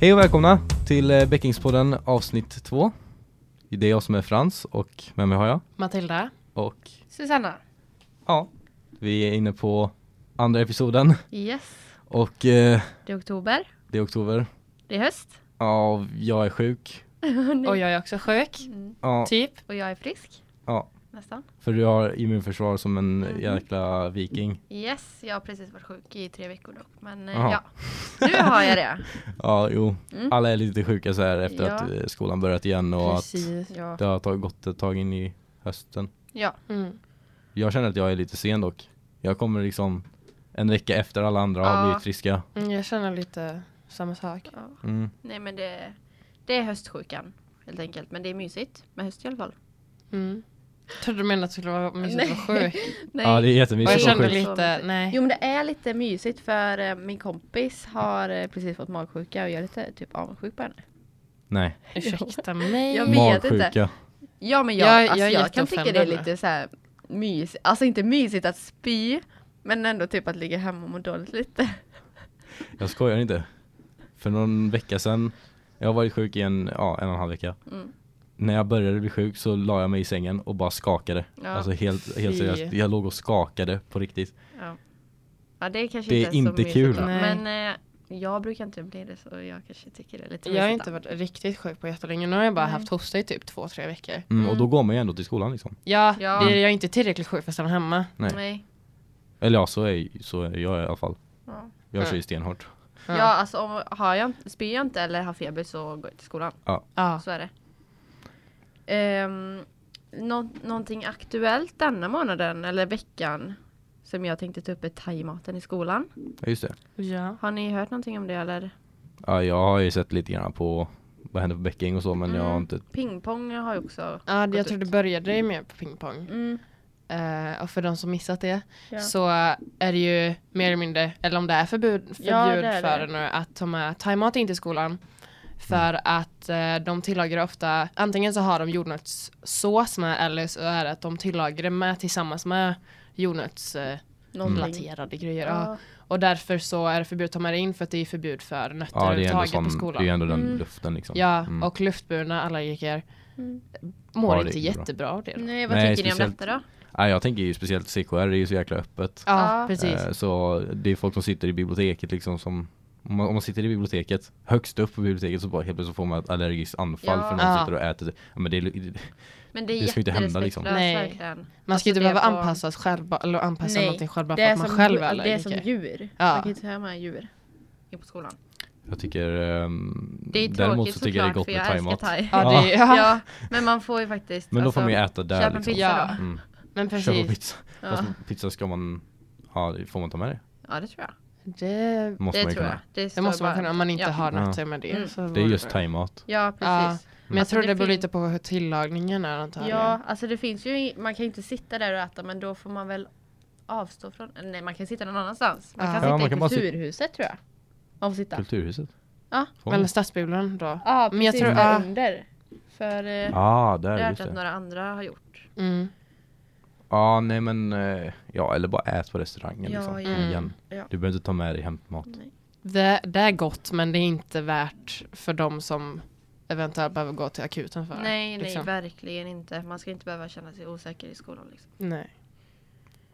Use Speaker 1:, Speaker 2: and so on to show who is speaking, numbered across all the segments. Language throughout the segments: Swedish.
Speaker 1: Hej och välkomna till eh, Beckingspodden avsnitt två. Det är jag som är Frans och med mig har jag.
Speaker 2: Matilda.
Speaker 1: Och
Speaker 3: Susanna.
Speaker 1: ja, vi är inne på andra episoden
Speaker 3: Yes.
Speaker 1: och eh,
Speaker 3: Det är oktober.
Speaker 1: det är oktober.
Speaker 3: Det är höst.
Speaker 1: Ja, jag är sjuk.
Speaker 2: Och jag är också sjuk.
Speaker 3: Mm.
Speaker 1: Ja,
Speaker 2: Typ.
Speaker 3: Och jag är frisk.
Speaker 1: ja,
Speaker 3: Nästan.
Speaker 1: för du har immunförsvar som en
Speaker 3: Mhm.
Speaker 1: jäkla viking.
Speaker 3: Yes, jag har precis varit sjuk i tre veckor dock. Men eh,
Speaker 1: Jaha.
Speaker 3: ja, nu har jag det.
Speaker 1: Ja, jo.
Speaker 3: Mm.
Speaker 1: Alla är lite sjuka så här efter
Speaker 3: Ja.
Speaker 1: att eh, skolan börjat igen och att
Speaker 2: Precis.
Speaker 3: Ja.
Speaker 1: det har tagit, gått ett tag in i hösten.
Speaker 3: ja.
Speaker 2: Mm.
Speaker 1: Jag känner att jag är lite sen dock. Jag kommer liksom en vecka efter alla andra har
Speaker 3: Ja.
Speaker 1: blivit friska.
Speaker 2: Mm, jag känner lite samma sak.
Speaker 3: ja.
Speaker 1: Mm.
Speaker 3: Nej men det, det är höstsjukan helt enkelt. Men det är mysigt med höst i alla fall.
Speaker 2: Mm. Trodde du menade att det skulle vara mysigt att vara sjuk.
Speaker 3: Nej.
Speaker 1: Ja det är
Speaker 2: Och
Speaker 1: jättemysigt.
Speaker 2: jag
Speaker 1: att
Speaker 2: kände
Speaker 1: vara sjuk.
Speaker 3: sjukt.
Speaker 2: lite, nej.
Speaker 3: Jo men det är lite mysigt för eh, min kompis har eh, precis fått magsjuka och jag är lite typ avundsjuk på henne.
Speaker 1: Nej,
Speaker 2: Ursäkta mig.
Speaker 3: Jag vet inte.
Speaker 1: magsjuka.
Speaker 3: Ja men
Speaker 2: Jag-
Speaker 3: jag,
Speaker 2: jag
Speaker 3: alltså,
Speaker 2: är
Speaker 3: jag, kan tycka det är
Speaker 2: jätteoffendad
Speaker 3: lite så här mysigt, alltså inte mysigt att spy men ändå typ att ligga hemma och må dåligt lite.
Speaker 1: Jag skojar inte. För någon vecka sedan, jag har varit sjuk i en, ja, en och en halv vecka.
Speaker 3: Mm.
Speaker 1: När jag började bli sjuk så la jag mig i sängen och bara skakade.
Speaker 3: Ja.
Speaker 1: Alltså helt, helt
Speaker 2: Fy.
Speaker 1: seriöst, jag låg och skakade på riktigt.
Speaker 3: Ja. ja det är kanske
Speaker 1: Det är
Speaker 3: inte,
Speaker 1: inte
Speaker 3: så mysigt
Speaker 1: kul.
Speaker 3: då.
Speaker 2: Nej.
Speaker 3: Men eh, jag brukar inte bli det så jag kanske tycker det är lite
Speaker 2: Jag har
Speaker 3: mysigt
Speaker 2: inte
Speaker 3: då.
Speaker 2: varit riktigt sjuk på jättelänge. Nu har jag bara
Speaker 3: Nej.
Speaker 2: haft hosta i typ två, tre veckor.
Speaker 1: Mm, Och
Speaker 3: Mm.
Speaker 1: då går man ju ändå till skolan liksom.
Speaker 2: Ja,
Speaker 3: Ja.
Speaker 2: Det, jag är inte tillräckligt sjuk för att stanna hemma.
Speaker 1: Nej.
Speaker 3: Nej.
Speaker 1: Eller ja, så är, så är jag i alla fall.
Speaker 3: Ja.
Speaker 1: Jag kör ju
Speaker 2: Mm.
Speaker 1: stenhårt.
Speaker 3: Ja. alltså om, har jag, spyr jag inte eller har feber så går jag till skolan.
Speaker 2: Ja.
Speaker 3: Så är det. Ehm, nå- någonting aktuellt denna månaden eller veckan som jag tänkte ta upp är thaimaten i skolan.
Speaker 1: Ja, just det.
Speaker 2: ja.
Speaker 3: Har ni hört någonting om det eller?
Speaker 1: Ja, jag har ju sett lite grann på vad händer på Becking och så men jag har
Speaker 3: Mm.
Speaker 1: inte...
Speaker 3: Pingpong har ju också Mm.
Speaker 2: Ja,
Speaker 3: gått
Speaker 2: jag tror
Speaker 3: ut.
Speaker 2: det började ju med på pingpong. Eh, och för de som missat det
Speaker 3: Ja.
Speaker 2: så är det ju mer eller mindre, eller om det är förbud, förbjud
Speaker 3: Ja, det är
Speaker 2: för
Speaker 3: det.
Speaker 2: nu att ta med thaimat in till skolan. För att eh, de tillagar ofta, antingen så har de jordnötssås med eller så är det att de tillagar det med tillsammans med jordnötsrelaterade
Speaker 3: Någonting.
Speaker 2: grejer. Ja.
Speaker 3: Mm. Ja.
Speaker 2: Och därför så är det förbud att ta med det in för att det är förbud för nötter
Speaker 1: Ja, det är ändå,
Speaker 2: överhuvudtaget på
Speaker 1: sån, det är
Speaker 2: skolan.
Speaker 1: ändå den
Speaker 3: Mm.
Speaker 1: luften liksom.
Speaker 2: Ja,
Speaker 1: Mm.
Speaker 2: och luftburna allergiker
Speaker 3: Mm.
Speaker 2: mår
Speaker 1: Ja, det
Speaker 2: inte
Speaker 1: är inte bra.
Speaker 2: jättebra av det. då.
Speaker 3: Nej, vad
Speaker 1: Nej,
Speaker 3: tycker
Speaker 1: speciellt-
Speaker 3: ni om detta då?
Speaker 1: Ja, jag tänker ju speciellt CKR, det är ju så jäkla öppet.
Speaker 2: Ja,
Speaker 3: Ja.
Speaker 2: precis.
Speaker 1: Eh, Så det är folk som sitter i biblioteket liksom som om man, om man sitter i biblioteket, högst upp på biblioteket så bara helt plötsligt så får man ett allergiskt anfall
Speaker 3: Ja.
Speaker 1: för någon som
Speaker 2: Ja.
Speaker 1: sitter och äter. Ja, men det är, lu-
Speaker 3: Men det är
Speaker 1: Det ska ju inte hända, liksom.
Speaker 3: jätterespektlöst
Speaker 2: Nej.
Speaker 3: verkligen.
Speaker 2: Man ska ju inte
Speaker 3: Alltså, det
Speaker 2: behöva
Speaker 3: är på-
Speaker 2: anpassa, oss själv, eller anpassa
Speaker 3: Nej,
Speaker 2: någonting själv bara för att man själv är
Speaker 3: det är som
Speaker 2: allergiker.
Speaker 3: djur.
Speaker 2: Ja.
Speaker 3: Man kan ju inte ha med djur in på skolan.
Speaker 1: jag tycker ehm,
Speaker 3: Det är ju
Speaker 1: däremot
Speaker 3: tråkigt
Speaker 1: så tycker jag det är
Speaker 3: såklart
Speaker 1: gott
Speaker 3: för
Speaker 1: med
Speaker 3: jag älskar
Speaker 1: thaimat.
Speaker 3: thai.
Speaker 2: Ja, det är, ja.
Speaker 3: Ja, men man får ju faktiskt
Speaker 1: Men då får
Speaker 3: alltså,
Speaker 1: man ju äta där
Speaker 3: köpa en
Speaker 1: liksom.
Speaker 3: pizza
Speaker 2: Ja.
Speaker 3: då.
Speaker 1: Mm.
Speaker 2: men
Speaker 1: Köpa
Speaker 2: precis.
Speaker 1: pizza. Fast
Speaker 3: Ja.
Speaker 1: pizza ska man, ja det- får man ta med det?
Speaker 3: ja, det tror jag.
Speaker 2: Det,
Speaker 1: Måste
Speaker 3: det
Speaker 1: man ju
Speaker 3: tror jag.
Speaker 1: kunna.
Speaker 3: Det,
Speaker 2: det
Speaker 3: står
Speaker 2: måste man
Speaker 3: bara-
Speaker 2: kunna om man inte
Speaker 3: ja.
Speaker 2: har
Speaker 1: Ja.
Speaker 2: något med det.
Speaker 3: Mm.
Speaker 2: Så
Speaker 1: Det är
Speaker 2: vore
Speaker 1: just thaimat.
Speaker 3: Ja,
Speaker 2: Ja.
Speaker 3: precis.
Speaker 2: Men jag
Speaker 3: Alltså,
Speaker 2: tror
Speaker 3: det
Speaker 2: det beror
Speaker 3: finns-
Speaker 2: lite på hur tillagningen är antagligen.
Speaker 3: Ja, alltså det finns ju, i- man kan ju inte sitta där och äta men då får man väl avstå från, nej man kan sitta någon annanstans. Man
Speaker 2: Ja.
Speaker 3: kan
Speaker 1: Ja,
Speaker 3: sitta
Speaker 1: man kan bara
Speaker 3: i
Speaker 1: sit-
Speaker 3: kulturhuset tror jag. Man får sitta.
Speaker 1: Kulturhuset.
Speaker 3: Ja.
Speaker 1: Får man?
Speaker 2: Eller stadsbibblan då.
Speaker 3: Ja, precis.
Speaker 2: Men jag tror-
Speaker 3: där
Speaker 2: ja.
Speaker 3: under. För eh,
Speaker 1: Ja,
Speaker 3: det
Speaker 1: där
Speaker 3: har jag
Speaker 1: just
Speaker 3: hört att
Speaker 1: det.
Speaker 3: några andra har gjort.
Speaker 2: Mm.
Speaker 1: Ja, nej men, eh, ja eller bara ät på restaurangen
Speaker 3: Ja,
Speaker 1: liksom.
Speaker 3: ja.
Speaker 1: Kom igen.
Speaker 3: Ja.
Speaker 1: Du behöver inte ta med dig hämtmat.
Speaker 2: Det, det är gott men det är inte värt för de som eventuellt behöver gå till akuten för.
Speaker 3: nej, nej,
Speaker 2: liksom.
Speaker 3: verkligen inte. Man ska inte behöva känna sig osäker i skolan. Liksom.
Speaker 2: nej.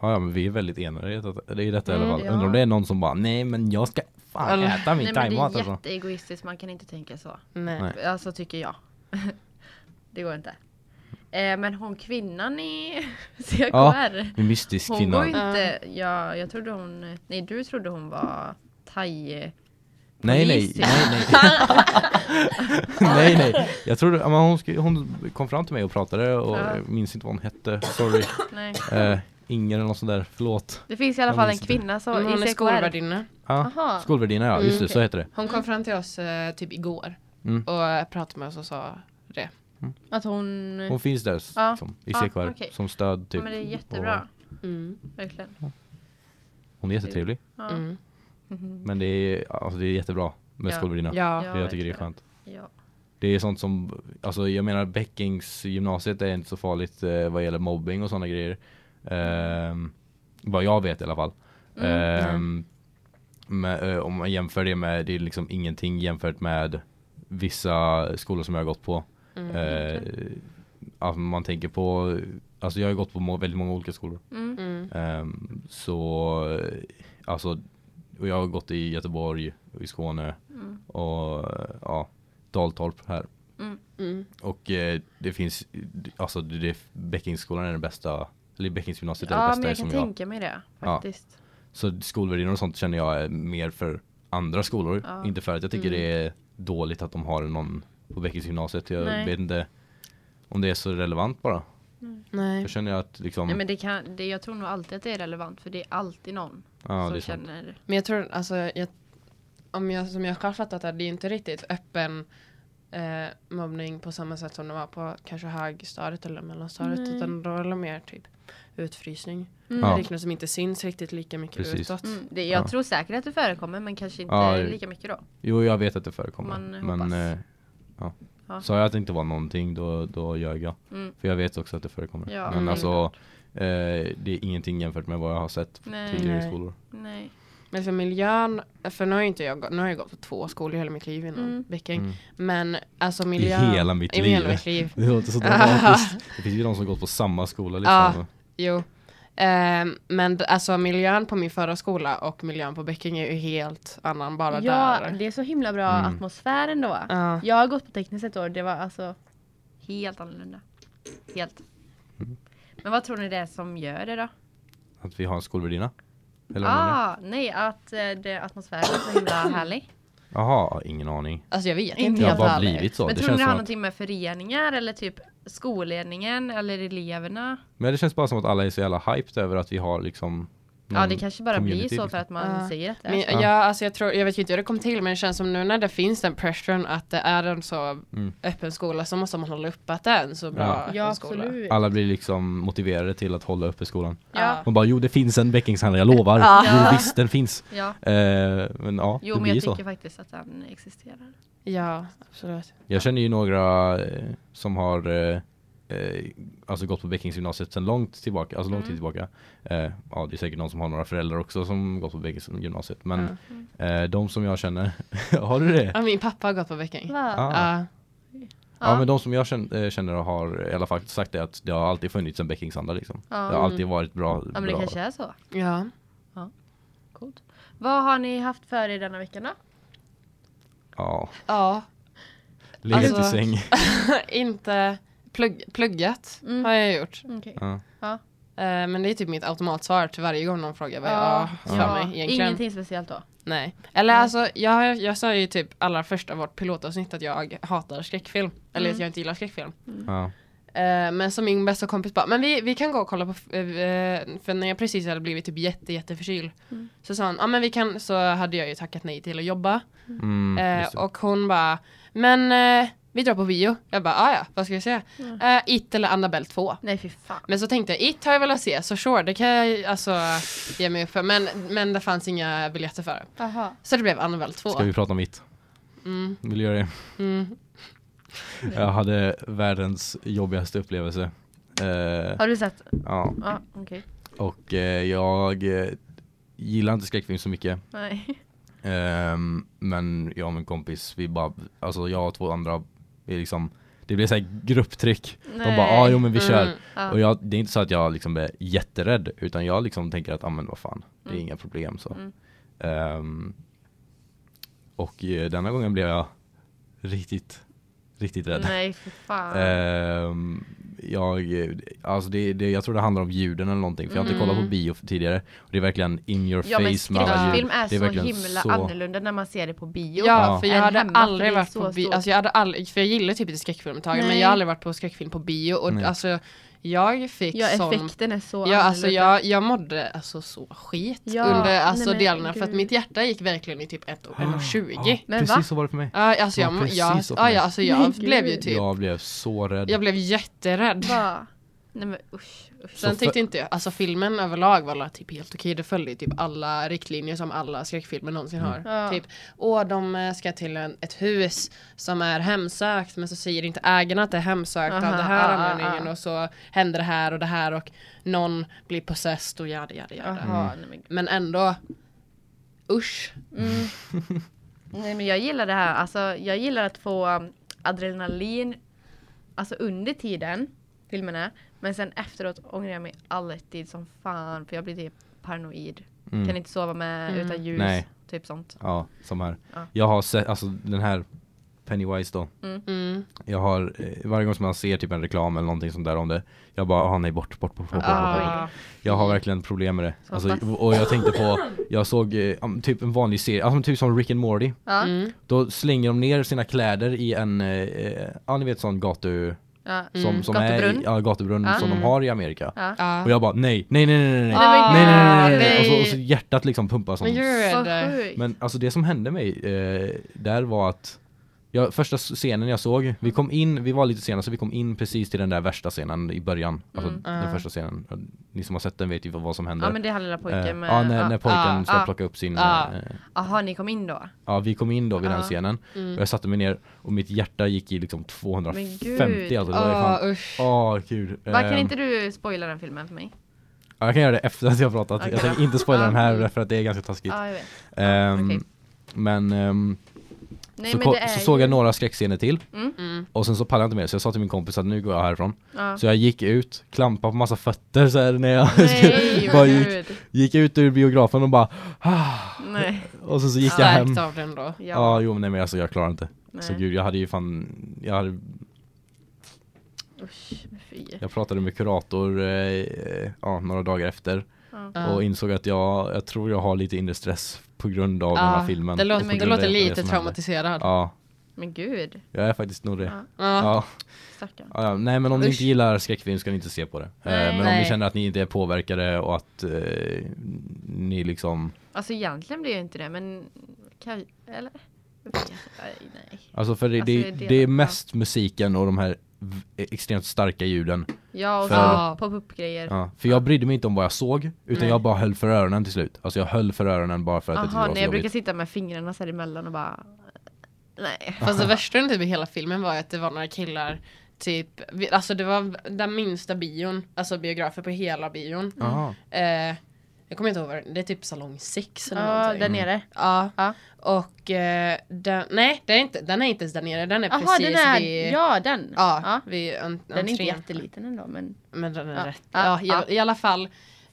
Speaker 1: Ja, ja men vi är väldigt enade i detta, i detta i alla
Speaker 2: Mm,
Speaker 1: fall.
Speaker 3: ja.
Speaker 1: Undrar om det är någon som bara nej men jag ska fan
Speaker 2: Eller-
Speaker 1: äta min
Speaker 3: Nej, men det
Speaker 1: thaimat
Speaker 3: är
Speaker 1: alltså.
Speaker 3: jätteegoistiskt. Man kan inte tänka så.
Speaker 2: Nej.
Speaker 1: Nej.
Speaker 3: Alltså tycker jag. det går inte. Eh, men hon kvinnan i CKR.
Speaker 1: En mystisk
Speaker 3: Hon
Speaker 1: kvinna.
Speaker 3: går ju inte, ja, jag trodde hon, nej du trodde hon var thai
Speaker 1: Nej nej,
Speaker 3: polis,
Speaker 1: nej nej. nej nej. Jag trodde, ja, men hon, sku- hon kom fram till mig och pratade och
Speaker 3: Ja.
Speaker 1: jag minns inte vad hon hette. Sorry.
Speaker 3: nej.
Speaker 1: Eh, Inger eller något sånt där, förlåt.
Speaker 3: Det finns i alla
Speaker 1: Jag
Speaker 3: fall en
Speaker 1: minns inte.
Speaker 3: kvinna som,
Speaker 2: Men Hon
Speaker 3: i
Speaker 2: är
Speaker 3: CKR.
Speaker 2: skolvärdinna.
Speaker 1: Ja,
Speaker 3: Aha.
Speaker 1: skolvärdinna ja,
Speaker 2: Mm,
Speaker 1: just det, så
Speaker 3: okej.
Speaker 1: heter det.
Speaker 2: Hon kom fram till oss eh, typ igår
Speaker 1: Mm.
Speaker 2: och pratade med oss och sa det.
Speaker 3: Att hon,
Speaker 1: Hon finns där s-
Speaker 3: Ja.
Speaker 1: liksom, i
Speaker 3: Ja,
Speaker 1: CKR
Speaker 3: okej.
Speaker 1: som stöd
Speaker 3: ja,
Speaker 1: typ.
Speaker 3: men det är jättebra,
Speaker 2: Mm.
Speaker 3: verkligen.
Speaker 1: Och hon är jättetrevlig.
Speaker 3: Ja.
Speaker 2: Mm.
Speaker 3: Mhm.
Speaker 1: Men det är, alltså, det är jättebra med
Speaker 3: Ja.
Speaker 1: skolvärdinna.
Speaker 2: Ja.
Speaker 3: Ja.
Speaker 1: Jag tycker det är
Speaker 3: verkligen.
Speaker 1: skönt.
Speaker 3: Ja.
Speaker 1: Det är sånt som, alltså jag menar Beckings gymnasiet är inte så farligt eh, vad gäller mobbing och sådana grejer. Ehm, vad jag vet i alla fall.
Speaker 3: Mm.
Speaker 1: Ehm, med, eh, om man jämför det med, det är liksom ingenting jämfört med vissa skolor som jag har gått på.
Speaker 2: Mm.
Speaker 1: Eh, alltså man tänker på, alltså jag har gått på må- väldigt många olika skolor.
Speaker 3: Mm.
Speaker 2: Mm.
Speaker 1: Ehm, så eh, alltså, och jag har gått i Göteborg, och i Skåne
Speaker 3: Mm.
Speaker 1: och eh, ja, Daltorp här.
Speaker 3: Mm.
Speaker 2: Mm.
Speaker 1: Och eh, det finns, alltså det, det, Bäckingsskolan är den bästa, eller Bäckingsgymnasiet är det
Speaker 3: Ja
Speaker 1: bästa
Speaker 3: men jag
Speaker 1: eftersom
Speaker 3: kan
Speaker 1: jag
Speaker 3: tänka mig det
Speaker 1: Ja.
Speaker 3: faktiskt.
Speaker 1: Så skolvärdinnan och sånt känner jag är mer för andra skolor.
Speaker 3: Ja. Mm.
Speaker 1: Inte för att jag tycker det är dåligt att de har någon på Bäckingsgymnasiet. Jag
Speaker 3: Nej.
Speaker 1: vet inte om det är så relevant bara.
Speaker 2: Nej.
Speaker 1: Jag känner att liksom,
Speaker 3: Nej men det kan, det, jag tror nog alltid att det är relevant för det är alltid någon
Speaker 1: ja, det
Speaker 3: som
Speaker 1: är sant.
Speaker 3: känner.
Speaker 2: Men jag tror, alltså, jag, om jag, som jag själv fattat det, det är inte riktigt öppen eh, mobbning på samma sätt som det var på kanske högstadiet eller mellanstadiet.
Speaker 3: Nej.
Speaker 2: Utan då är det mer typ utfrysning.
Speaker 3: Mm.
Speaker 1: Ja.
Speaker 2: Ja. som inte syns riktigt lika mycket
Speaker 1: Precis.
Speaker 2: utåt.
Speaker 3: Mm, det, jag
Speaker 1: Ja.
Speaker 3: tror säkert att det förekommer men kanske inte
Speaker 1: Ja, det-
Speaker 3: lika mycket då.
Speaker 1: Jo, jag vet att det förekommer.
Speaker 3: Man
Speaker 1: men
Speaker 3: hoppas.
Speaker 1: eh, ja.
Speaker 3: Ja.
Speaker 1: Sa jag att det inte var någonting då, då ljög jag.
Speaker 3: Mm.
Speaker 1: För jag vet också att det förekommer.
Speaker 3: Ja,
Speaker 1: men
Speaker 2: mm.
Speaker 1: alltså, eh, det är ingenting jämfört med vad jag har sett
Speaker 3: Nej.
Speaker 1: tidigare i
Speaker 2: Nej.
Speaker 1: skolor.
Speaker 3: Nej.
Speaker 2: Men för miljön, för nu har, ju inte jag, gått- nu har jag gått på två skolor i hela mitt liv innan
Speaker 3: Mm.
Speaker 2: Bäcking.
Speaker 1: Mm.
Speaker 2: Men alltså miljön.
Speaker 1: hela mitt
Speaker 2: i
Speaker 1: liv.
Speaker 2: Hela mitt liv.
Speaker 1: Det låter så dramatiskt. det finns ju de som gått på samma skola liksom.
Speaker 2: Ja. Jo. Ehm, men d- alltså miljön på min förra skola och miljön på Bäcking är ju helt annan bara
Speaker 3: Ja,
Speaker 2: där.
Speaker 3: det är så himla bra
Speaker 1: Mm.
Speaker 3: atmosfär ändå.
Speaker 2: Ja.
Speaker 3: Jag har gått på tekniskt ett år, det var alltså helt annorlunda. Helt.
Speaker 1: Mm.
Speaker 3: Men vad tror ni det är som gör det då?
Speaker 1: Att vi har en skolvärdinna? Eller vad menar
Speaker 3: Ah, nej, att eh, det, atmosfären är så himla härlig.
Speaker 1: du? Jaha, ingen aning.
Speaker 2: Alltså jag vet
Speaker 3: Inte
Speaker 2: inte.
Speaker 1: Det har
Speaker 3: helt
Speaker 1: bara
Speaker 3: ärlig.
Speaker 1: blivit så.
Speaker 3: Men
Speaker 1: Det
Speaker 3: tror ni
Speaker 1: känns,
Speaker 3: det har
Speaker 1: som att,
Speaker 3: någonting med föreningar eller typ skolledningen eller eleverna?
Speaker 1: men det känns bara som att alla är så jävla hyped över att vi har liksom
Speaker 3: ja,
Speaker 1: någon
Speaker 3: det kanske bara blir
Speaker 1: community,
Speaker 3: så för
Speaker 1: liksom.
Speaker 3: att man
Speaker 2: Ja.
Speaker 3: säger att det är
Speaker 2: Men
Speaker 3: så.
Speaker 1: Ja.
Speaker 2: ja. jag, alltså jag, tror, jag vet ju inte hur det kom till men det känns som nu när det finns den pressuren att det är en så
Speaker 1: Mm.
Speaker 2: öppen skola så måste man hålla uppe att det är en så bra
Speaker 1: Ja.
Speaker 2: öppen
Speaker 3: Ja,
Speaker 2: skola.
Speaker 3: absolut.
Speaker 1: Alla blir liksom motiverade till att hålla uppe skolan.
Speaker 3: Ja.
Speaker 1: Man bara, jo det finns en Bäckingshandlare, jag lovar.
Speaker 2: Ja.
Speaker 1: Jo visst, den finns.
Speaker 3: Ja.
Speaker 1: Eh, men ja,
Speaker 3: Jo,
Speaker 1: det
Speaker 3: men
Speaker 1: blir
Speaker 3: jag
Speaker 1: så.
Speaker 3: tycker faktiskt att den existerar.
Speaker 2: Ja, absolut.
Speaker 1: Jag känner ju några eh, som har eh, eh, alltså gått på Bäckingsgymnasiet sedan långt tillbaka, alltså lång tid tillbaka. Eh, ja, det är säkert någon som har några föräldrar också som gått på Bäckingsgymnasiet. Men eh, de som jag känner, har du det?
Speaker 2: Ja, min pappa har gått på Bäcking.
Speaker 3: Va?
Speaker 1: Ah.
Speaker 2: Ja.
Speaker 1: Ja. men de som jag känner, eh, känner har i alla fall sagt det att det har alltid funnits en Bäckingsanda liksom.
Speaker 3: Ja.
Speaker 1: Det har alltid varit bra.
Speaker 3: ja, men det
Speaker 1: bra.
Speaker 3: kanske är så.
Speaker 2: ja.
Speaker 3: Coolt. Vad har ni haft för er denna veckan då?
Speaker 1: Ja,
Speaker 2: ja.
Speaker 1: legat i
Speaker 2: Alltså-
Speaker 1: säng.
Speaker 2: inte plugg, pluggat
Speaker 3: Mm.
Speaker 2: har jag gjort.
Speaker 3: Okej.
Speaker 1: Ja.
Speaker 2: Eh, men det är typ mitt automatsvar till varje gång någon frågar vad jag har för
Speaker 1: Ah.
Speaker 2: mig egentligen.
Speaker 3: Ah. Ingenting speciellt då?
Speaker 2: Nej. Eller
Speaker 3: Nej.
Speaker 2: alltså, jag, jag sa ju typ allra första vårt pilotavsnitt att jag hatar skräckfilm. Eller
Speaker 3: Mm.
Speaker 2: att jag inte gillar skräckfilm.
Speaker 1: Ja.
Speaker 2: Eh, men som min bästa kompis bara, men vi, vi kan gå och kolla på, f- eh, för när jag precis hade blivit typ jätte jätte förkyld. Så sa hon, ja men vi kan, så hade jag ju tackat nej till att jobba.
Speaker 1: Mm,
Speaker 2: Eh,
Speaker 1: just det.
Speaker 2: och hon bara, men eh, vi drar på bio. Jag bara, "Ah, ja vad ska vi se? Eh, It eller Annabelle 2.
Speaker 3: Nej fy fan.
Speaker 2: Men så tänkte jag, It har jag velat se, så sure, det kan jag alltså ge mig upp för. Men, men det fanns inga biljetter för det.
Speaker 3: Aha.
Speaker 2: Så det blev Annabelle 2.
Speaker 1: Ska vi prata om mitt?
Speaker 2: Mm.
Speaker 1: Vill du göra det?
Speaker 2: Mm.
Speaker 1: Jag hade världens jobbigaste upplevelse. Eh,
Speaker 3: Har du sett?
Speaker 1: ja.
Speaker 3: Ja, okej.
Speaker 1: Och eh, jag eh, gillar inte skräckfilm så mycket.
Speaker 3: Nej.
Speaker 1: Ehm, men jag och min kompis, vi bara, alltså jag och två andra, vi liksom, det blev såhär grupptryck. De
Speaker 3: Nej.
Speaker 1: bara, ah, jo men vi kör.
Speaker 2: Mm.
Speaker 3: Ja.
Speaker 1: Och jag, det är inte så att jag liksom är jätterädd, utan jag liksom tänker att, ah, men vad fan, det är
Speaker 3: Mm.
Speaker 1: inga problem så.
Speaker 3: Mm.
Speaker 1: Ehm, och eh, denna gången blev jag riktigt, riktigt rädd.
Speaker 3: Nej fy fan.
Speaker 1: Ehm, jag, alltså det, det, jag tror det handlar om ljuden eller någonting, för jag har inte
Speaker 2: Mm.
Speaker 1: kollat på bio tidigare. Och det är verkligen in your
Speaker 3: ja men
Speaker 1: face med alla ljud.
Speaker 3: skräckfilm är,
Speaker 1: Det är
Speaker 3: så
Speaker 1: verkligen
Speaker 3: himla
Speaker 1: så-
Speaker 3: annorlunda när man ser det på bio.
Speaker 2: Ja, för jag
Speaker 3: Än
Speaker 2: hade
Speaker 3: hemma, för
Speaker 2: aldrig
Speaker 3: det är
Speaker 2: varit
Speaker 3: så
Speaker 2: på bio,
Speaker 3: stort.
Speaker 2: alltså jag hade aldrig, för jag gillar typ inte skräckfilm ett tag, men
Speaker 3: Nej.
Speaker 2: jag har aldrig varit på skräckfilm på bio och
Speaker 1: Nej.
Speaker 2: alltså jag fick
Speaker 3: Ja
Speaker 2: sån
Speaker 3: effekten är så
Speaker 2: Ja, alltså
Speaker 3: annorlunda.
Speaker 2: jag, jag mådde alltså så skit
Speaker 3: Ja,
Speaker 2: under
Speaker 3: nej
Speaker 2: alltså
Speaker 3: men
Speaker 2: delarna för att
Speaker 3: gud.
Speaker 2: mitt hjärta gick verkligen i typ ett och en och
Speaker 1: Ja,
Speaker 2: tjugo.
Speaker 3: Men
Speaker 1: precis
Speaker 3: va?
Speaker 1: så var det för mig.
Speaker 2: Ja, alltså
Speaker 1: Ah, Ja,
Speaker 2: jag, jag,
Speaker 1: precis
Speaker 2: jag,
Speaker 1: så för
Speaker 2: ja,
Speaker 1: mig.
Speaker 2: alltså jag
Speaker 3: Men
Speaker 2: blev ju
Speaker 3: gud.
Speaker 2: typ,
Speaker 1: Jag blev så rädd.
Speaker 2: jag blev jätterädd.
Speaker 3: Va? Nej men usch. usch.
Speaker 1: Så
Speaker 2: Sen
Speaker 1: för-
Speaker 2: tyckte inte jag, alltså filmen överlag var alla typ helt okej, det följde ju typ alla riktlinjer som alla skräckfilmer någonsin
Speaker 1: Mm.
Speaker 2: har.
Speaker 3: Ja.
Speaker 2: Typ, åh de eh, ska till en, ett hus som är hemsökt men så säger inte ägarna att det är hemsökt av
Speaker 3: Aha,
Speaker 2: det här
Speaker 3: ah, ah,
Speaker 2: anledningen
Speaker 3: ah.
Speaker 2: och så händer det här och det här och någon blir possessed och jada jada jada.
Speaker 3: Jaha, nej men gud.
Speaker 2: Men ändå Usch.
Speaker 3: Mm. Nej men jag gillar det här, alltså jag gillar att få um, adrenalin Alltså under tiden filmen är Men sen efteråt ångrar jag mig alltid som fan för jag blir typ paranoid
Speaker 1: Mm.
Speaker 3: Kan inte sova med
Speaker 2: Mm.
Speaker 3: utan ljus,
Speaker 1: Nej.
Speaker 3: typ sånt
Speaker 1: Ja, som här.
Speaker 3: Ja.
Speaker 1: Jag har sett, alltså den här Pennywise då.
Speaker 2: Mm.
Speaker 1: Jag har, eh, varje gång som man ser typ en reklam eller någonting sånt där om det. Jag bara, ah, nej bort, bort, bort, bort, bort, bort, bort.
Speaker 2: Ah.
Speaker 1: Jag har verkligen problem med det.
Speaker 3: Så
Speaker 1: Alltså,
Speaker 3: pass.
Speaker 1: och jag tänkte på, jag såg eh, ja, men typ en vanlig serie, alltså, typ som Rick and Morty.
Speaker 3: Ja,
Speaker 2: Mm.
Speaker 1: Då slänger de ner sina kläder i en, eh, eh, ja ni vet sån gatu,
Speaker 3: ja,
Speaker 1: som, som är i,
Speaker 3: Gatubrunn.
Speaker 1: ja, gatubrunn
Speaker 3: Ja.
Speaker 1: som de har i Amerika.
Speaker 3: ja.
Speaker 2: Ja.
Speaker 1: Och jag bara nej, nej, nej, nej, nej, nej,
Speaker 3: Ah,
Speaker 1: nej, nej, nej, nej.
Speaker 3: nej.
Speaker 1: Och, så, och så hjärtat liksom pumpar
Speaker 2: Men
Speaker 1: som
Speaker 2: gör
Speaker 3: Så
Speaker 2: det.
Speaker 3: sjukt.
Speaker 1: Men alltså det som hände mig eh, där var att jag, första scenen jag såg, vi kom in, vi var lite sena så vi kom in precis till den där värsta scenen i början. Alltså
Speaker 3: Mm.
Speaker 1: den
Speaker 2: Ah.
Speaker 1: första scenen. Ni som har sett den vet ju vad, vad som händer.
Speaker 3: Ja men det är han lilla
Speaker 1: Eh,
Speaker 3: pojken med
Speaker 1: ja, när, när pojken
Speaker 2: ah,
Speaker 1: ska
Speaker 3: ah.
Speaker 1: plocka upp sin...
Speaker 2: Ah.
Speaker 1: eh,
Speaker 3: Jaha, ni kom in då?
Speaker 1: ja, vi kom in då vid den
Speaker 3: Ah.
Speaker 1: scenen. Och
Speaker 2: Mm.
Speaker 1: jag satte mig ner och mitt hjärta gick i liksom 250
Speaker 3: gud.
Speaker 1: alltså. Det var ju
Speaker 2: Ah,
Speaker 1: fan...
Speaker 2: usch.
Speaker 1: Åh, gud.
Speaker 3: Var,
Speaker 1: Ehm,
Speaker 3: kan inte du spoila den filmen för mig?
Speaker 1: ja, jag kan göra det efter att jag har pratat.
Speaker 3: Okej.
Speaker 1: Jag tänker inte spoila den
Speaker 3: Ah.
Speaker 1: här för att det är ganska taskigt.
Speaker 3: Ja, jag vet.
Speaker 1: Ehm,
Speaker 3: okej.
Speaker 1: Men... ehm,
Speaker 3: Nej,
Speaker 1: så
Speaker 3: men
Speaker 1: ko-
Speaker 3: det är
Speaker 1: så såg jag
Speaker 3: ju-
Speaker 1: några skräckscener till
Speaker 2: Mm.
Speaker 1: och sen så pallade jag inte mer så jag sa till min kompis att nu går jag härifrån.
Speaker 3: Ja.
Speaker 1: Så jag gick ut, klampade på massa fötter så här när jag
Speaker 3: Nej,
Speaker 1: bara
Speaker 3: vad
Speaker 1: gick,
Speaker 3: gud.
Speaker 1: gick ut ur biografen och bara ah,
Speaker 3: Nej.
Speaker 1: och sen så gick jag hem.
Speaker 2: Stärkt av den då.
Speaker 1: Ja, jo men nej men alltså jag klarar inte. Så
Speaker 3: Nej.
Speaker 1: gud jag hade ju fan, jag, hade,
Speaker 3: Usch, men fy.
Speaker 1: jag pratade med kurator eh, eh, ja, några dagar efter
Speaker 3: Ja.
Speaker 2: Ja.
Speaker 1: och insåg att jag, jag tror jag har lite inre stress på grund av
Speaker 2: Ja,
Speaker 1: den här filmen.
Speaker 2: Det
Speaker 1: och
Speaker 2: låter,
Speaker 1: på
Speaker 2: det
Speaker 1: grund av
Speaker 2: låter
Speaker 1: det
Speaker 2: lite
Speaker 1: som hände.
Speaker 2: traumatiserad.
Speaker 1: Ja,
Speaker 3: Men gud.
Speaker 1: jag är faktiskt nog det.
Speaker 3: Ja.
Speaker 2: Ja.
Speaker 1: Ja.
Speaker 3: Stackarn.
Speaker 1: Ja, ja, nej men om ni
Speaker 2: Usch.
Speaker 1: inte gillar skräckfilm ska ni inte se på det. Eh,
Speaker 3: Nej.
Speaker 1: men om ni
Speaker 2: Nej.
Speaker 1: känner att ni inte är påverkade och att eh, ni liksom
Speaker 3: Alltså egentligen blir jag inte det, men kan Eller? Jag vet inte. Nej, nej.
Speaker 1: Alltså för det,
Speaker 3: Alltså,
Speaker 1: det,
Speaker 3: det är
Speaker 1: det,
Speaker 3: det-
Speaker 1: är mest musiken och de här v- e, extremt starka ljuden.
Speaker 3: Ja, och
Speaker 1: För-
Speaker 3: så pop-up-grejer.
Speaker 1: Ja, för jag brydde mig inte om vad jag såg utan
Speaker 3: Nej.
Speaker 1: jag bara höll för öronen till slut. Alltså jag höll för öronen bara för att jag tyckte
Speaker 3: Jaha,
Speaker 1: det var så
Speaker 3: nej, jag brukar
Speaker 1: jobbigt.
Speaker 3: sitta med fingrarna så här emellan och bara... Nej.
Speaker 2: Fast det värsta under typ i hela filmen var ju att det var några killar Typ, vi- alltså det var den minsta bion, alltså biografer på hela bion.
Speaker 1: Jaha.
Speaker 2: Eh, jag kommer inte ihåg vad det det är typ salong 6 eller
Speaker 3: Ja,
Speaker 2: någonting.
Speaker 1: Mm.
Speaker 3: där nere.
Speaker 2: Ja.
Speaker 3: Ja.
Speaker 2: Och eh, den, nej den är, inte, den är inte ens där nere, den är
Speaker 3: Jaha,
Speaker 2: precis
Speaker 3: den är...
Speaker 2: vid
Speaker 3: Ja, den.
Speaker 2: Ja,
Speaker 3: Ja.
Speaker 2: vid en,
Speaker 3: Den är inte
Speaker 2: entrén.
Speaker 3: jätteliten ändå, men...
Speaker 2: Men den är
Speaker 3: Ja.
Speaker 2: rätt.
Speaker 3: Ja,
Speaker 2: Ja, i,
Speaker 3: ja.
Speaker 2: I alla fall.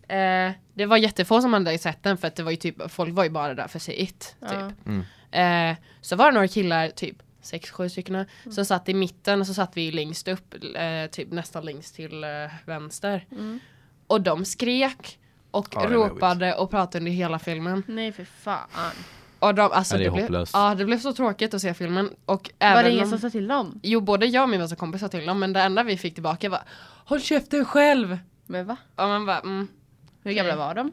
Speaker 2: Eh, det var jättefå som hade sett den för att det var ju typ, folk var ju bara där för att se it. Typ.
Speaker 3: Ja.
Speaker 1: Mm.
Speaker 2: Eh, så var det några killar, typ sex, sju stycken,
Speaker 3: Mm.
Speaker 2: som satt i mitten och så satt vi längst upp, eh, typ nästan längst till eh, vänster.
Speaker 3: Mm.
Speaker 2: Och de skrek och
Speaker 1: Ja, det är
Speaker 2: ropade och pratade under hela filmen.
Speaker 3: Nej, för fan.
Speaker 2: Och de, alltså,
Speaker 1: Ja, det är
Speaker 2: blev,
Speaker 1: hopplöst.
Speaker 2: ja, det blev så tråkigt att se filmen. Och
Speaker 3: Var
Speaker 2: även
Speaker 3: det ingen
Speaker 2: om-
Speaker 3: som sa till dem?
Speaker 2: Jo, både jag och min bästa kompis sa till dem, men det enda vi fick tillbaka var Håll käften själv!
Speaker 3: Men va? Typ.
Speaker 2: Och man bara, mm.
Speaker 3: Hur gamla var de?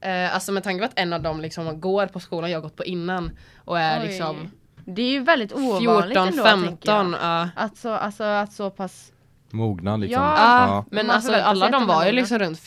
Speaker 2: Eh, alltså med tanke på att en av dem liksom går på skolan jag gått på innan och är
Speaker 3: Oj.
Speaker 2: liksom
Speaker 3: Det är ju väldigt ovanligt
Speaker 2: 14,
Speaker 3: ändå, tänker
Speaker 2: 15.
Speaker 3: jag.
Speaker 2: Ja.
Speaker 3: Att så, alltså att så pass...
Speaker 1: Mogna liksom.
Speaker 3: Ja.
Speaker 2: Ja, men
Speaker 3: Man
Speaker 2: alltså
Speaker 3: förväntar sig Mm.
Speaker 2: alla
Speaker 3: att
Speaker 2: de
Speaker 3: de
Speaker 2: var ju
Speaker 3: är mogna.
Speaker 2: liksom runt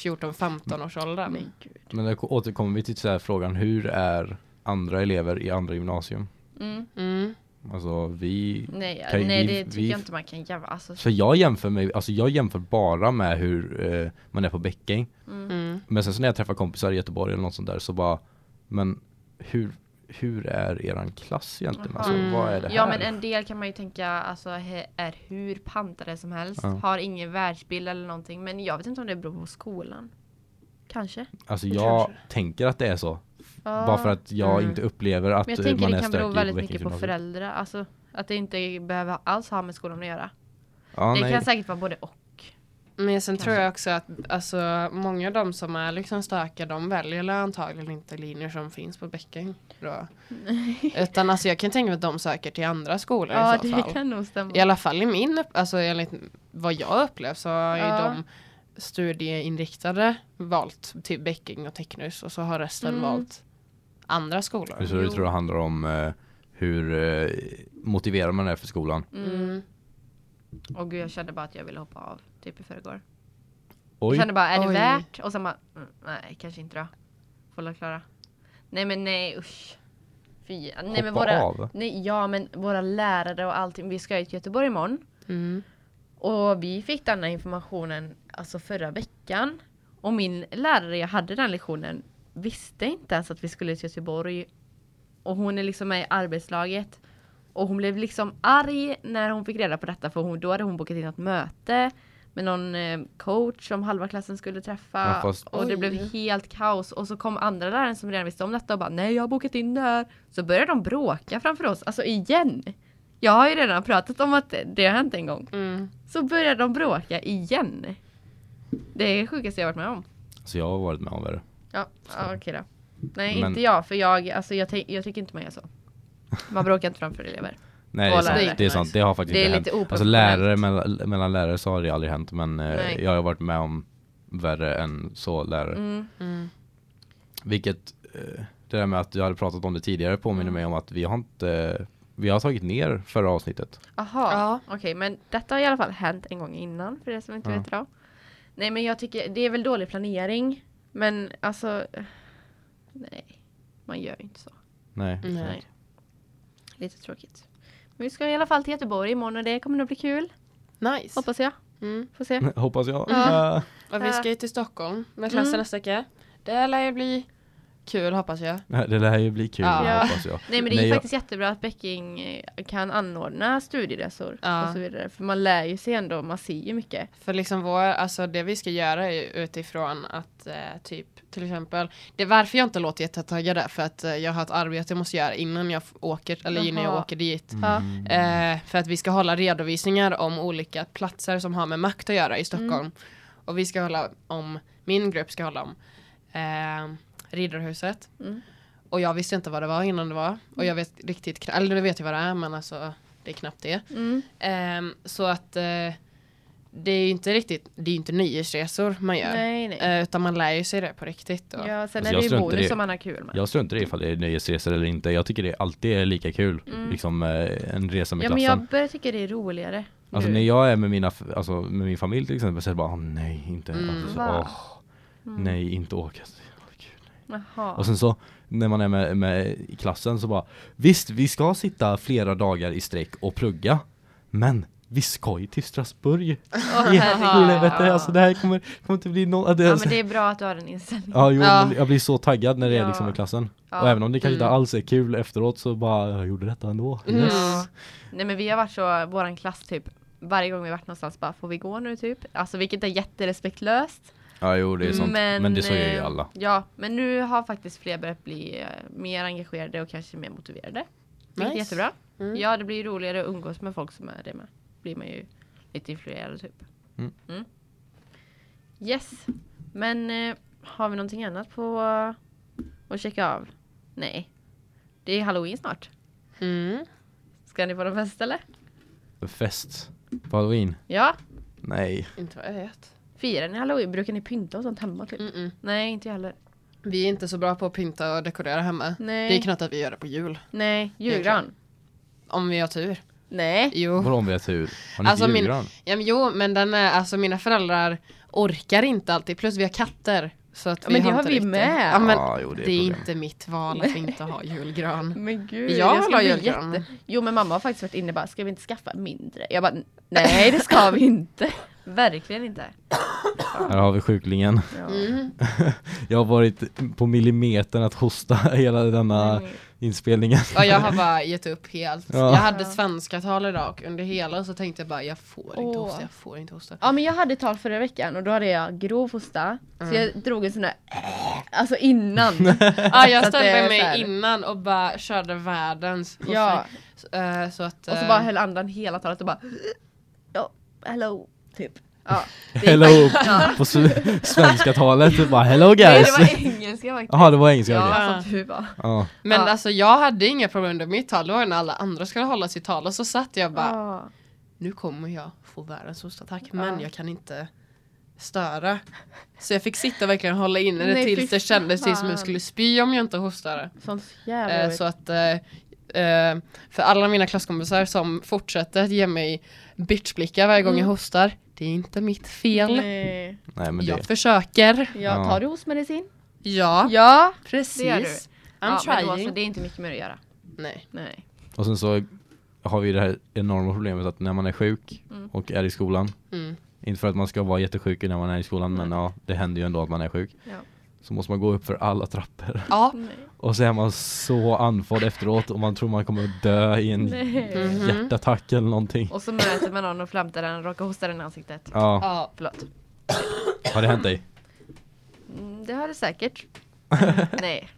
Speaker 2: 14-15 års åldern.
Speaker 3: Men gud.
Speaker 1: Men då återkommer vi till så här frågan hur är andra elever i andra gymnasium?
Speaker 3: Mm.
Speaker 2: Mm.
Speaker 1: Alltså vi
Speaker 3: Nej,
Speaker 1: Kan
Speaker 3: nej
Speaker 1: vi-
Speaker 3: det tycker
Speaker 1: vi-
Speaker 3: jag inte man kan jävla... Alltså,
Speaker 1: För jag jämför mig, alltså jag jämför bara med hur eh, man är på Bäcking
Speaker 2: Mm.
Speaker 1: Men sen så när jag träffar kompisar i Göteborg eller något sånt där så bara Men hur, hur är eran klass egentligen? Alltså
Speaker 2: Mm.
Speaker 1: vad är det här?
Speaker 3: ja men en del kan man ju tänka alltså, he- är hur pantade som helst.
Speaker 1: Ja.
Speaker 3: Har ingen världsbild eller någonting. Men jag vet inte om det beror på skolan. Kanske.
Speaker 1: alltså
Speaker 3: det
Speaker 1: jag
Speaker 3: kanske.
Speaker 1: tänker att det är så
Speaker 3: Ja.
Speaker 1: Bara för att jag
Speaker 2: Mm.
Speaker 1: inte upplever att
Speaker 3: men jag
Speaker 1: eh,
Speaker 3: tänker
Speaker 1: man
Speaker 3: det
Speaker 1: är
Speaker 3: kan bero
Speaker 1: stökig
Speaker 3: väldigt
Speaker 1: på
Speaker 3: mycket på
Speaker 1: Bäckingsgymnasiet
Speaker 3: föräldrar. Alltså att det inte behöver alls ha med skolan att göra.
Speaker 1: ja,
Speaker 3: det
Speaker 1: nej.
Speaker 3: kan säkert vara både och.
Speaker 2: Men sen tror jag också att alltså, många av de som är liksom stökiga de väljer väl antagligen inte linjer som finns på Bäcken. då. Utan alltså jag kan tänka mig att de söker till andra skolor
Speaker 3: Ja
Speaker 2: i så fall.
Speaker 3: det kan nog stämma.
Speaker 2: I alla fall i min, upp- alltså enligt vad jag upplevt så har ju
Speaker 3: Ja.
Speaker 2: de studieinriktade valt typ Becking och Teknus och så har resten
Speaker 3: Mm.
Speaker 2: valt andra skolor.
Speaker 1: Så du tror det handlar om eh, hur eh, motiverad man är för skolan
Speaker 3: Mm.
Speaker 2: Mm.
Speaker 3: Och gud jag kände bara att jag ville hoppa av. Typ i förrgår. Jag
Speaker 1: Oj,
Speaker 3: kände bara, är det
Speaker 2: Oj.
Speaker 3: värt? Och sen bara, mm, nej kanske inte då. Får la klara. Nej men nej usch. Fy. Nej, men
Speaker 1: Hoppa
Speaker 3: våra,
Speaker 1: av?
Speaker 3: Nej, ja men våra lärare och allting. Vi ska ju till Göteborg imorgon.
Speaker 2: Mm.
Speaker 3: Och vi fick denna informationen alltså förra veckan. Och min lärare jag hade den lektionen visste inte ens att vi skulle till Göteborg. Och hon är liksom med i arbetslaget. Och hon blev liksom arg när hon fick reda på detta för hon, då hade hon bokat in ett möte med någon eh, coach som halva klassen skulle träffa.
Speaker 1: Ja, fast-
Speaker 3: Och det
Speaker 2: Oj.
Speaker 3: blev helt kaos. Och så kom andra läraren som redan visste om detta och bara nej jag har bokat in det här. Så började de bråka framför oss, alltså igen. Jag har ju redan pratat om att det- det har hänt en gång.
Speaker 2: Mm.
Speaker 3: Så började de bråka igen. Det är det sjukaste jag varit med om.
Speaker 1: Så Alltså, jag har varit med om värre.
Speaker 3: Ja, ja okej då. Nej,
Speaker 1: Men-
Speaker 3: inte jag, för jag, alltså, jag, tänk- jag tycker inte man gör så. Man bråkar inte framför elever.
Speaker 1: Nej det är
Speaker 3: Och
Speaker 1: sant,
Speaker 3: lärare.
Speaker 1: det, är sant. det har faktiskt
Speaker 3: Det är
Speaker 1: inte
Speaker 3: lite
Speaker 1: hänt. Alltså
Speaker 3: oprofessionellt.
Speaker 1: lärare mellan, mellan lärare så har det aldrig hänt men eh,
Speaker 3: Nej.
Speaker 1: jag har varit med om värre än så lärare.
Speaker 3: Mm.
Speaker 2: Mm.
Speaker 1: Vilket, eh, det där med att du hade pratat om det tidigare påminner
Speaker 3: Mm.
Speaker 1: mig om att vi har inte, vi har tagit ner förra avsnittet.
Speaker 3: Aha,
Speaker 2: Ja.
Speaker 3: okej, men detta har i alla fall hänt en gång innan, för det som inte
Speaker 1: Ja.
Speaker 3: vet idag. Nej, men jag tycker, det är väl dålig planering, men alltså, eh, nej, man gör ju inte så.
Speaker 1: Nej.
Speaker 2: Nej.
Speaker 3: Lite tråkigt. Men vi ska i alla fall till Göteborg imorgon och det kommer nog bli kul,
Speaker 2: Nice.
Speaker 3: hoppas jag.
Speaker 2: Mm.
Speaker 3: Får se.
Speaker 1: Hoppas jag.
Speaker 2: Ja.
Speaker 1: Eh,
Speaker 2: Och vi ska ju till Stockholm med klassen
Speaker 3: Mm.
Speaker 2: nästa vecka. Det lär ju bli kul hoppas jag.
Speaker 1: Det lär ju bli kul
Speaker 2: Ja.
Speaker 1: hoppas jag.
Speaker 3: Nej men det är
Speaker 1: Nej,
Speaker 3: ju
Speaker 1: jag-
Speaker 3: faktiskt jättebra att Peking eh, kan anordna studieresor
Speaker 2: Ja.
Speaker 3: och så vidare. För man lär ju sig ändå, man ser ju mycket.
Speaker 2: För liksom vår, alltså det vi ska göra är ju utifrån att eh, typ till exempel Det är varför jag inte låter jättetaggad där för att eh, jag har ett arbete jag måste göra innan jag f- åker eller innan jag
Speaker 3: Jaha.
Speaker 2: åker dit
Speaker 3: Ja.
Speaker 1: Mm.
Speaker 2: eh, För att vi ska hålla redovisningar om olika platser som har med makt att göra i Stockholm
Speaker 3: Mm.
Speaker 2: Och vi ska hålla om, min grupp ska hålla om eh, Riddarhuset
Speaker 3: Mm.
Speaker 2: Och jag visste inte vad det var innan det var och jag vet riktigt kna- eller jag vet ju vad det är men alltså det är knappt det
Speaker 3: Mm.
Speaker 2: Ehm, så att eh, det är ju inte riktigt, det är ju inte nyårsresor man gör.
Speaker 3: Nej nej.
Speaker 2: Eh, utan man lär ju sig det på riktigt. Då.
Speaker 3: Ja, sen
Speaker 1: Alltså,
Speaker 3: är
Speaker 1: jag
Speaker 3: det ju
Speaker 1: struntar i
Speaker 3: bonus
Speaker 1: det.
Speaker 3: om man har kul med.
Speaker 1: Jag struntar i ifall det är nöjesresor eller inte. Jag tycker det alltid är lika kul. Liksom eh, en resa med
Speaker 3: Mm. Ja men
Speaker 1: klassen.
Speaker 3: jag Mm. börjar tycka det är roligare.
Speaker 1: Alltså
Speaker 3: nu.
Speaker 1: när jag är med, mina, f- alltså, med min familj till exempel så är det bara "Åh, nej, inte, alltså,
Speaker 3: Mm. Va? Mm.
Speaker 1: åh, nej, inte åka. Så jävla kul.
Speaker 3: Jaha.
Speaker 1: Och sen så när man är med, med i klassen så bara visst, vi ska sitta flera dagar i sträck och plugga, men vi ska ju till Strasbourg. I helvete, alltså det här kommer, kommer inte bli någon...
Speaker 3: ja men det är bra att du har den inställningen.
Speaker 1: Ja, jo,
Speaker 2: Ja.
Speaker 1: men jag blir så taggad när det är
Speaker 3: Ja.
Speaker 1: liksom i klassen.
Speaker 3: Ja.
Speaker 1: Och även om det kanske inte
Speaker 2: Mm.
Speaker 1: alls är kul efteråt så bara, jag gjorde detta ändå.
Speaker 2: Mm.
Speaker 1: Yes.
Speaker 3: Ja. Nej men vi har varit så, våran klass typ, varje gång vi varit någonstans bara får vi gå nu typ? Alltså vilket är jätterespektlöst.
Speaker 1: Ja, jo det är sånt. Men, det så gör ju
Speaker 3: eh,
Speaker 1: alla.
Speaker 3: Ja, men nu har faktiskt fler börjat bli eh, mer engagerade och kanske mer motiverade. Vilket är
Speaker 2: Nice.
Speaker 3: jättebra.
Speaker 2: Mm.
Speaker 3: Ja, det blir ju roligare att umgås med folk som är det med. Blir man ju lite influerad typ.
Speaker 1: Mm.
Speaker 3: Yes, men eh, har vi någonting annat på eh, att checka av? Nej, det är halloween snart.
Speaker 2: Mm.
Speaker 3: Ska ni på någon fest eller?
Speaker 1: Fest. På halloween.
Speaker 3: Ja,
Speaker 1: Nej.
Speaker 2: Inte vad jag vet.
Speaker 3: firar ni halloween? Brukar ni pynta och sånt hemma typ?
Speaker 2: Mm-mm.
Speaker 3: Nej, inte jag heller.
Speaker 2: Vi är inte så bra på att pynta och dekorera hemma.
Speaker 3: Nej.
Speaker 2: Det är knappt att vi gör det på jul.
Speaker 3: Nej,
Speaker 2: är klart.
Speaker 3: julgran?
Speaker 2: Om vi har tur.
Speaker 3: Nej.
Speaker 2: Jo.
Speaker 1: Vadå om vi har tur? Har ni
Speaker 2: Alltså,
Speaker 1: inte
Speaker 2: min-
Speaker 1: julgran?
Speaker 2: Ja, men jo men den är, alltså mina föräldrar orkar inte alltid. Plus vi har katter. Så att
Speaker 3: Ja,
Speaker 2: vi
Speaker 3: men det
Speaker 2: har
Speaker 3: har
Speaker 2: inte
Speaker 3: vi
Speaker 2: riktigt-
Speaker 3: med.
Speaker 2: Ja, men
Speaker 1: Ja, jo, det
Speaker 2: det
Speaker 1: är
Speaker 2: är,
Speaker 1: problem.
Speaker 2: inte mitt val att vi inte har julgran.
Speaker 3: Men gud,
Speaker 2: Jag
Speaker 3: ska
Speaker 2: vill ha
Speaker 3: bli
Speaker 2: julgran.
Speaker 3: Jo men mamma har faktiskt varit inne och bara, ska vi inte skaffa mindre? Jag bara, nej det ska vi inte. Verkligen inte.
Speaker 1: Här har vi sjuklingen.
Speaker 3: Ja.
Speaker 1: Jag har varit på millimetern att hosta hela denna
Speaker 3: Nej.
Speaker 1: inspelningen.
Speaker 2: Ja jag har bara gett upp helt.
Speaker 1: Ja.
Speaker 2: Jag hade svenska tal idag och under hela så tänkte jag bara jag får inte
Speaker 3: Åh.
Speaker 2: hosta, jag får inte hosta.
Speaker 3: Ja men jag hade tal förra veckan och då hade jag grov hosta. Så jag drog en sån där, alltså innan.
Speaker 2: Ja ah, jag
Speaker 3: Så att det är
Speaker 2: ställde
Speaker 3: så här.
Speaker 2: mig innan och bara körde världens hosta.
Speaker 3: Ja,
Speaker 2: Så, eh, så att,
Speaker 3: och så
Speaker 2: eh,
Speaker 3: bara höll andan hela talet och bara, ja, hello, typ. Ja,
Speaker 1: Hello! På s- svenska talet. Det Bara hello
Speaker 3: nej,
Speaker 1: guys!
Speaker 3: det var engelska faktiskt.
Speaker 1: Jaha, det var engelska. okej.
Speaker 3: Ja, som tur var.
Speaker 1: Ja.
Speaker 2: Men
Speaker 3: ja.
Speaker 2: alltså jag hade inga problem under mitt tal, det var ju när alla andra skulle hålla sitt tal och så satt jag bara
Speaker 3: Ja.
Speaker 2: nu kommer jag få världens hostattack men jag kan inte störa. Så jag fick sitta och verkligen hålla inne det
Speaker 3: Nej,
Speaker 2: tills
Speaker 3: fy
Speaker 2: det kändes tills som
Speaker 3: fan.
Speaker 2: jag skulle spy om jag inte hostade.
Speaker 3: Sånt jävla
Speaker 2: Eh,
Speaker 3: jobbigt.
Speaker 2: så att eh, eh, för alla mina klasskompisar som fortsätter att ge mig bitchblickar varje gång jag hostar, det är inte mitt fel.
Speaker 3: Mm. Nej.
Speaker 1: Nej men
Speaker 2: Jag
Speaker 1: det.
Speaker 2: försöker.
Speaker 3: Ja, tar du hostmedicin?
Speaker 2: Ja,
Speaker 3: Ja, det gör du.
Speaker 2: precis. I'm
Speaker 3: ja, men
Speaker 2: trying.
Speaker 3: då, alltså, det är inte mycket mer att göra.
Speaker 2: Nej.
Speaker 3: Nej.
Speaker 1: Och sen så har vi det här enorma problemet att när man är sjuk och är i skolan.
Speaker 2: Mm.
Speaker 1: Inte för att man ska vara jättesjuk när man är i skolan men ja, det händer ju ändå att man är sjuk.
Speaker 3: Ja.
Speaker 1: så måste man gå upp för alla trappor.
Speaker 2: Ja.
Speaker 3: Nej.
Speaker 1: Och så är man så andfådd efteråt och man tror man kommer dö i en
Speaker 3: Nej.
Speaker 2: Mhm.
Speaker 1: hjärtattack eller någonting.
Speaker 3: Och så möter man någon och flämtar den och råkar hosta den i ansiktet.
Speaker 1: Ja,
Speaker 2: ja.
Speaker 3: Förlåt.
Speaker 1: har det hänt dig?
Speaker 3: Mm, det har det säkert. Nej.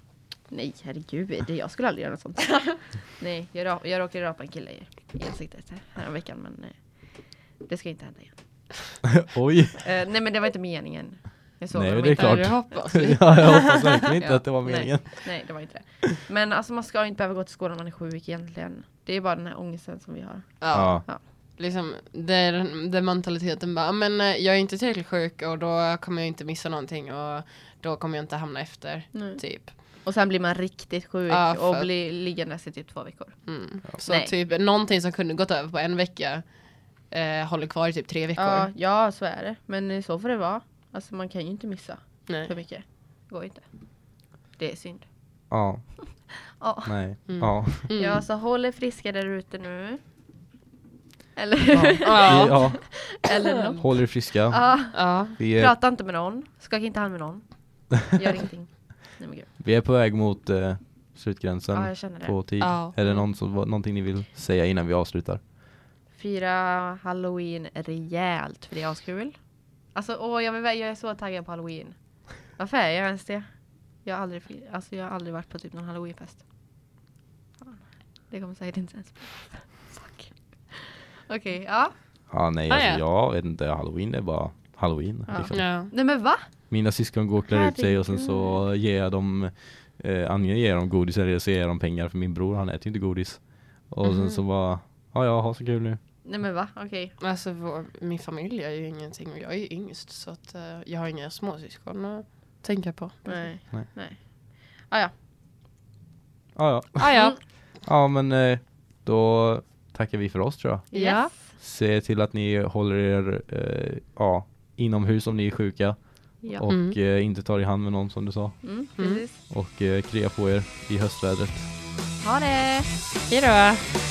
Speaker 3: Nej, herregud. Jag skulle aldrig göra något sånt. Nej, jag, ra- jag råkade rapa en kille i, i ansiktet här om veckan men eh, det ska inte hända igen.
Speaker 1: Oj!
Speaker 3: Eh, nej men det var inte meningen. Jag såg
Speaker 1: Nej,
Speaker 3: honom
Speaker 1: det är
Speaker 3: inte.
Speaker 1: klart.
Speaker 2: Det hoppas vi.
Speaker 1: ja, jag hoppas verkligen inte
Speaker 3: Ja,
Speaker 1: att det var meningen.
Speaker 3: Nej, nej, det var inte det. Men alltså man ska ju inte behöva gå till skolan om man är sjuk egentligen. Det är bara den här ångesten som vi har.
Speaker 2: Ja.
Speaker 1: Ja.
Speaker 2: Liksom, det är den det är mentaliteten bara, "Ah, men eh, jag är inte tillräckligt sjuk och då kommer jag inte missa någonting och då kommer jag inte hamna efter.
Speaker 3: Mm.
Speaker 2: Typ.
Speaker 3: Och sen blir man riktigt sjuk
Speaker 2: Ja, för-
Speaker 3: och blir liggandes i typ två veckor.
Speaker 2: Mm. Så
Speaker 3: Nej.
Speaker 2: typ någonting som kunde gått över på en vecka eh, håller kvar i typ tre veckor.
Speaker 3: Ja, ja, så är det. Men eh, så får det vara. Alltså man kan ju inte missa
Speaker 2: Nej.
Speaker 3: för mycket. Det går inte. Det är synd.
Speaker 1: Ja,
Speaker 3: Ja,
Speaker 1: nej,
Speaker 2: Mm.
Speaker 1: ja.
Speaker 2: Mm.
Speaker 3: ja så håll er friska där ute nu. Eller,
Speaker 2: Ja.
Speaker 1: ja.
Speaker 3: eller något.
Speaker 1: Håll er friska.
Speaker 3: Ja,
Speaker 2: Ja.
Speaker 1: Vi är,
Speaker 3: prata inte med någon. Skaka inte hand med någon. Gör ingenting. Nej men gud.
Speaker 1: vi är på väg mot eh,
Speaker 3: Ja,
Speaker 1: slutgränsen
Speaker 3: jag känner det.
Speaker 1: på tid.
Speaker 2: Ja. Mm.
Speaker 1: Är det någon som, vad- någonting ni vill säga innan vi avslutar?
Speaker 3: Fira halloween rejält för det är askul. Alltså åh, jag, vill, jag är så taggad på halloween. Varför är jag ens det? Jag har aldrig, fir- alltså, jag har aldrig varit på typ någon halloweenfest. Fan, Det kommer säkert inte ens bli. Fuck. Okej, ja.
Speaker 1: Ja, nej,
Speaker 2: Ah,
Speaker 1: alltså,
Speaker 2: ja.
Speaker 1: jag vet inte. Halloween är bara halloween.
Speaker 3: Ja.
Speaker 1: Liksom.
Speaker 2: Ja.
Speaker 3: Nej men va?
Speaker 1: Mina syskon går och klär ut sig och sen så ger jag dem, eh, antingen ger jag dem godis eller så ger jag dem pengar för min bror han äter ju inte godis. Och
Speaker 2: Mm-hmm.
Speaker 1: sen så bara, ja ja, ha så kul nu.
Speaker 3: Nej men va? Okej.
Speaker 2: Alltså vår, min familj är ju ingenting och jag är ju yngst så att eh, jag har inga småsyskon att tänka på.
Speaker 3: Nej.
Speaker 1: Nej.
Speaker 3: Nej. Ah, ja.
Speaker 1: Ja ja,
Speaker 2: Ah, ja.
Speaker 1: ja men eh, då tackar vi för oss tror jag.
Speaker 2: Ja.
Speaker 3: Yes.
Speaker 1: Se till att ni håller er eh, ja, inomhus om ni är sjuka
Speaker 3: Ja.
Speaker 1: och
Speaker 2: Mm.
Speaker 1: eh, inte tar i hand med någon som du sa.
Speaker 3: Mm, precis.
Speaker 1: Och eh, krya på er i höstvädret.
Speaker 3: Ha det!
Speaker 2: Hejdå!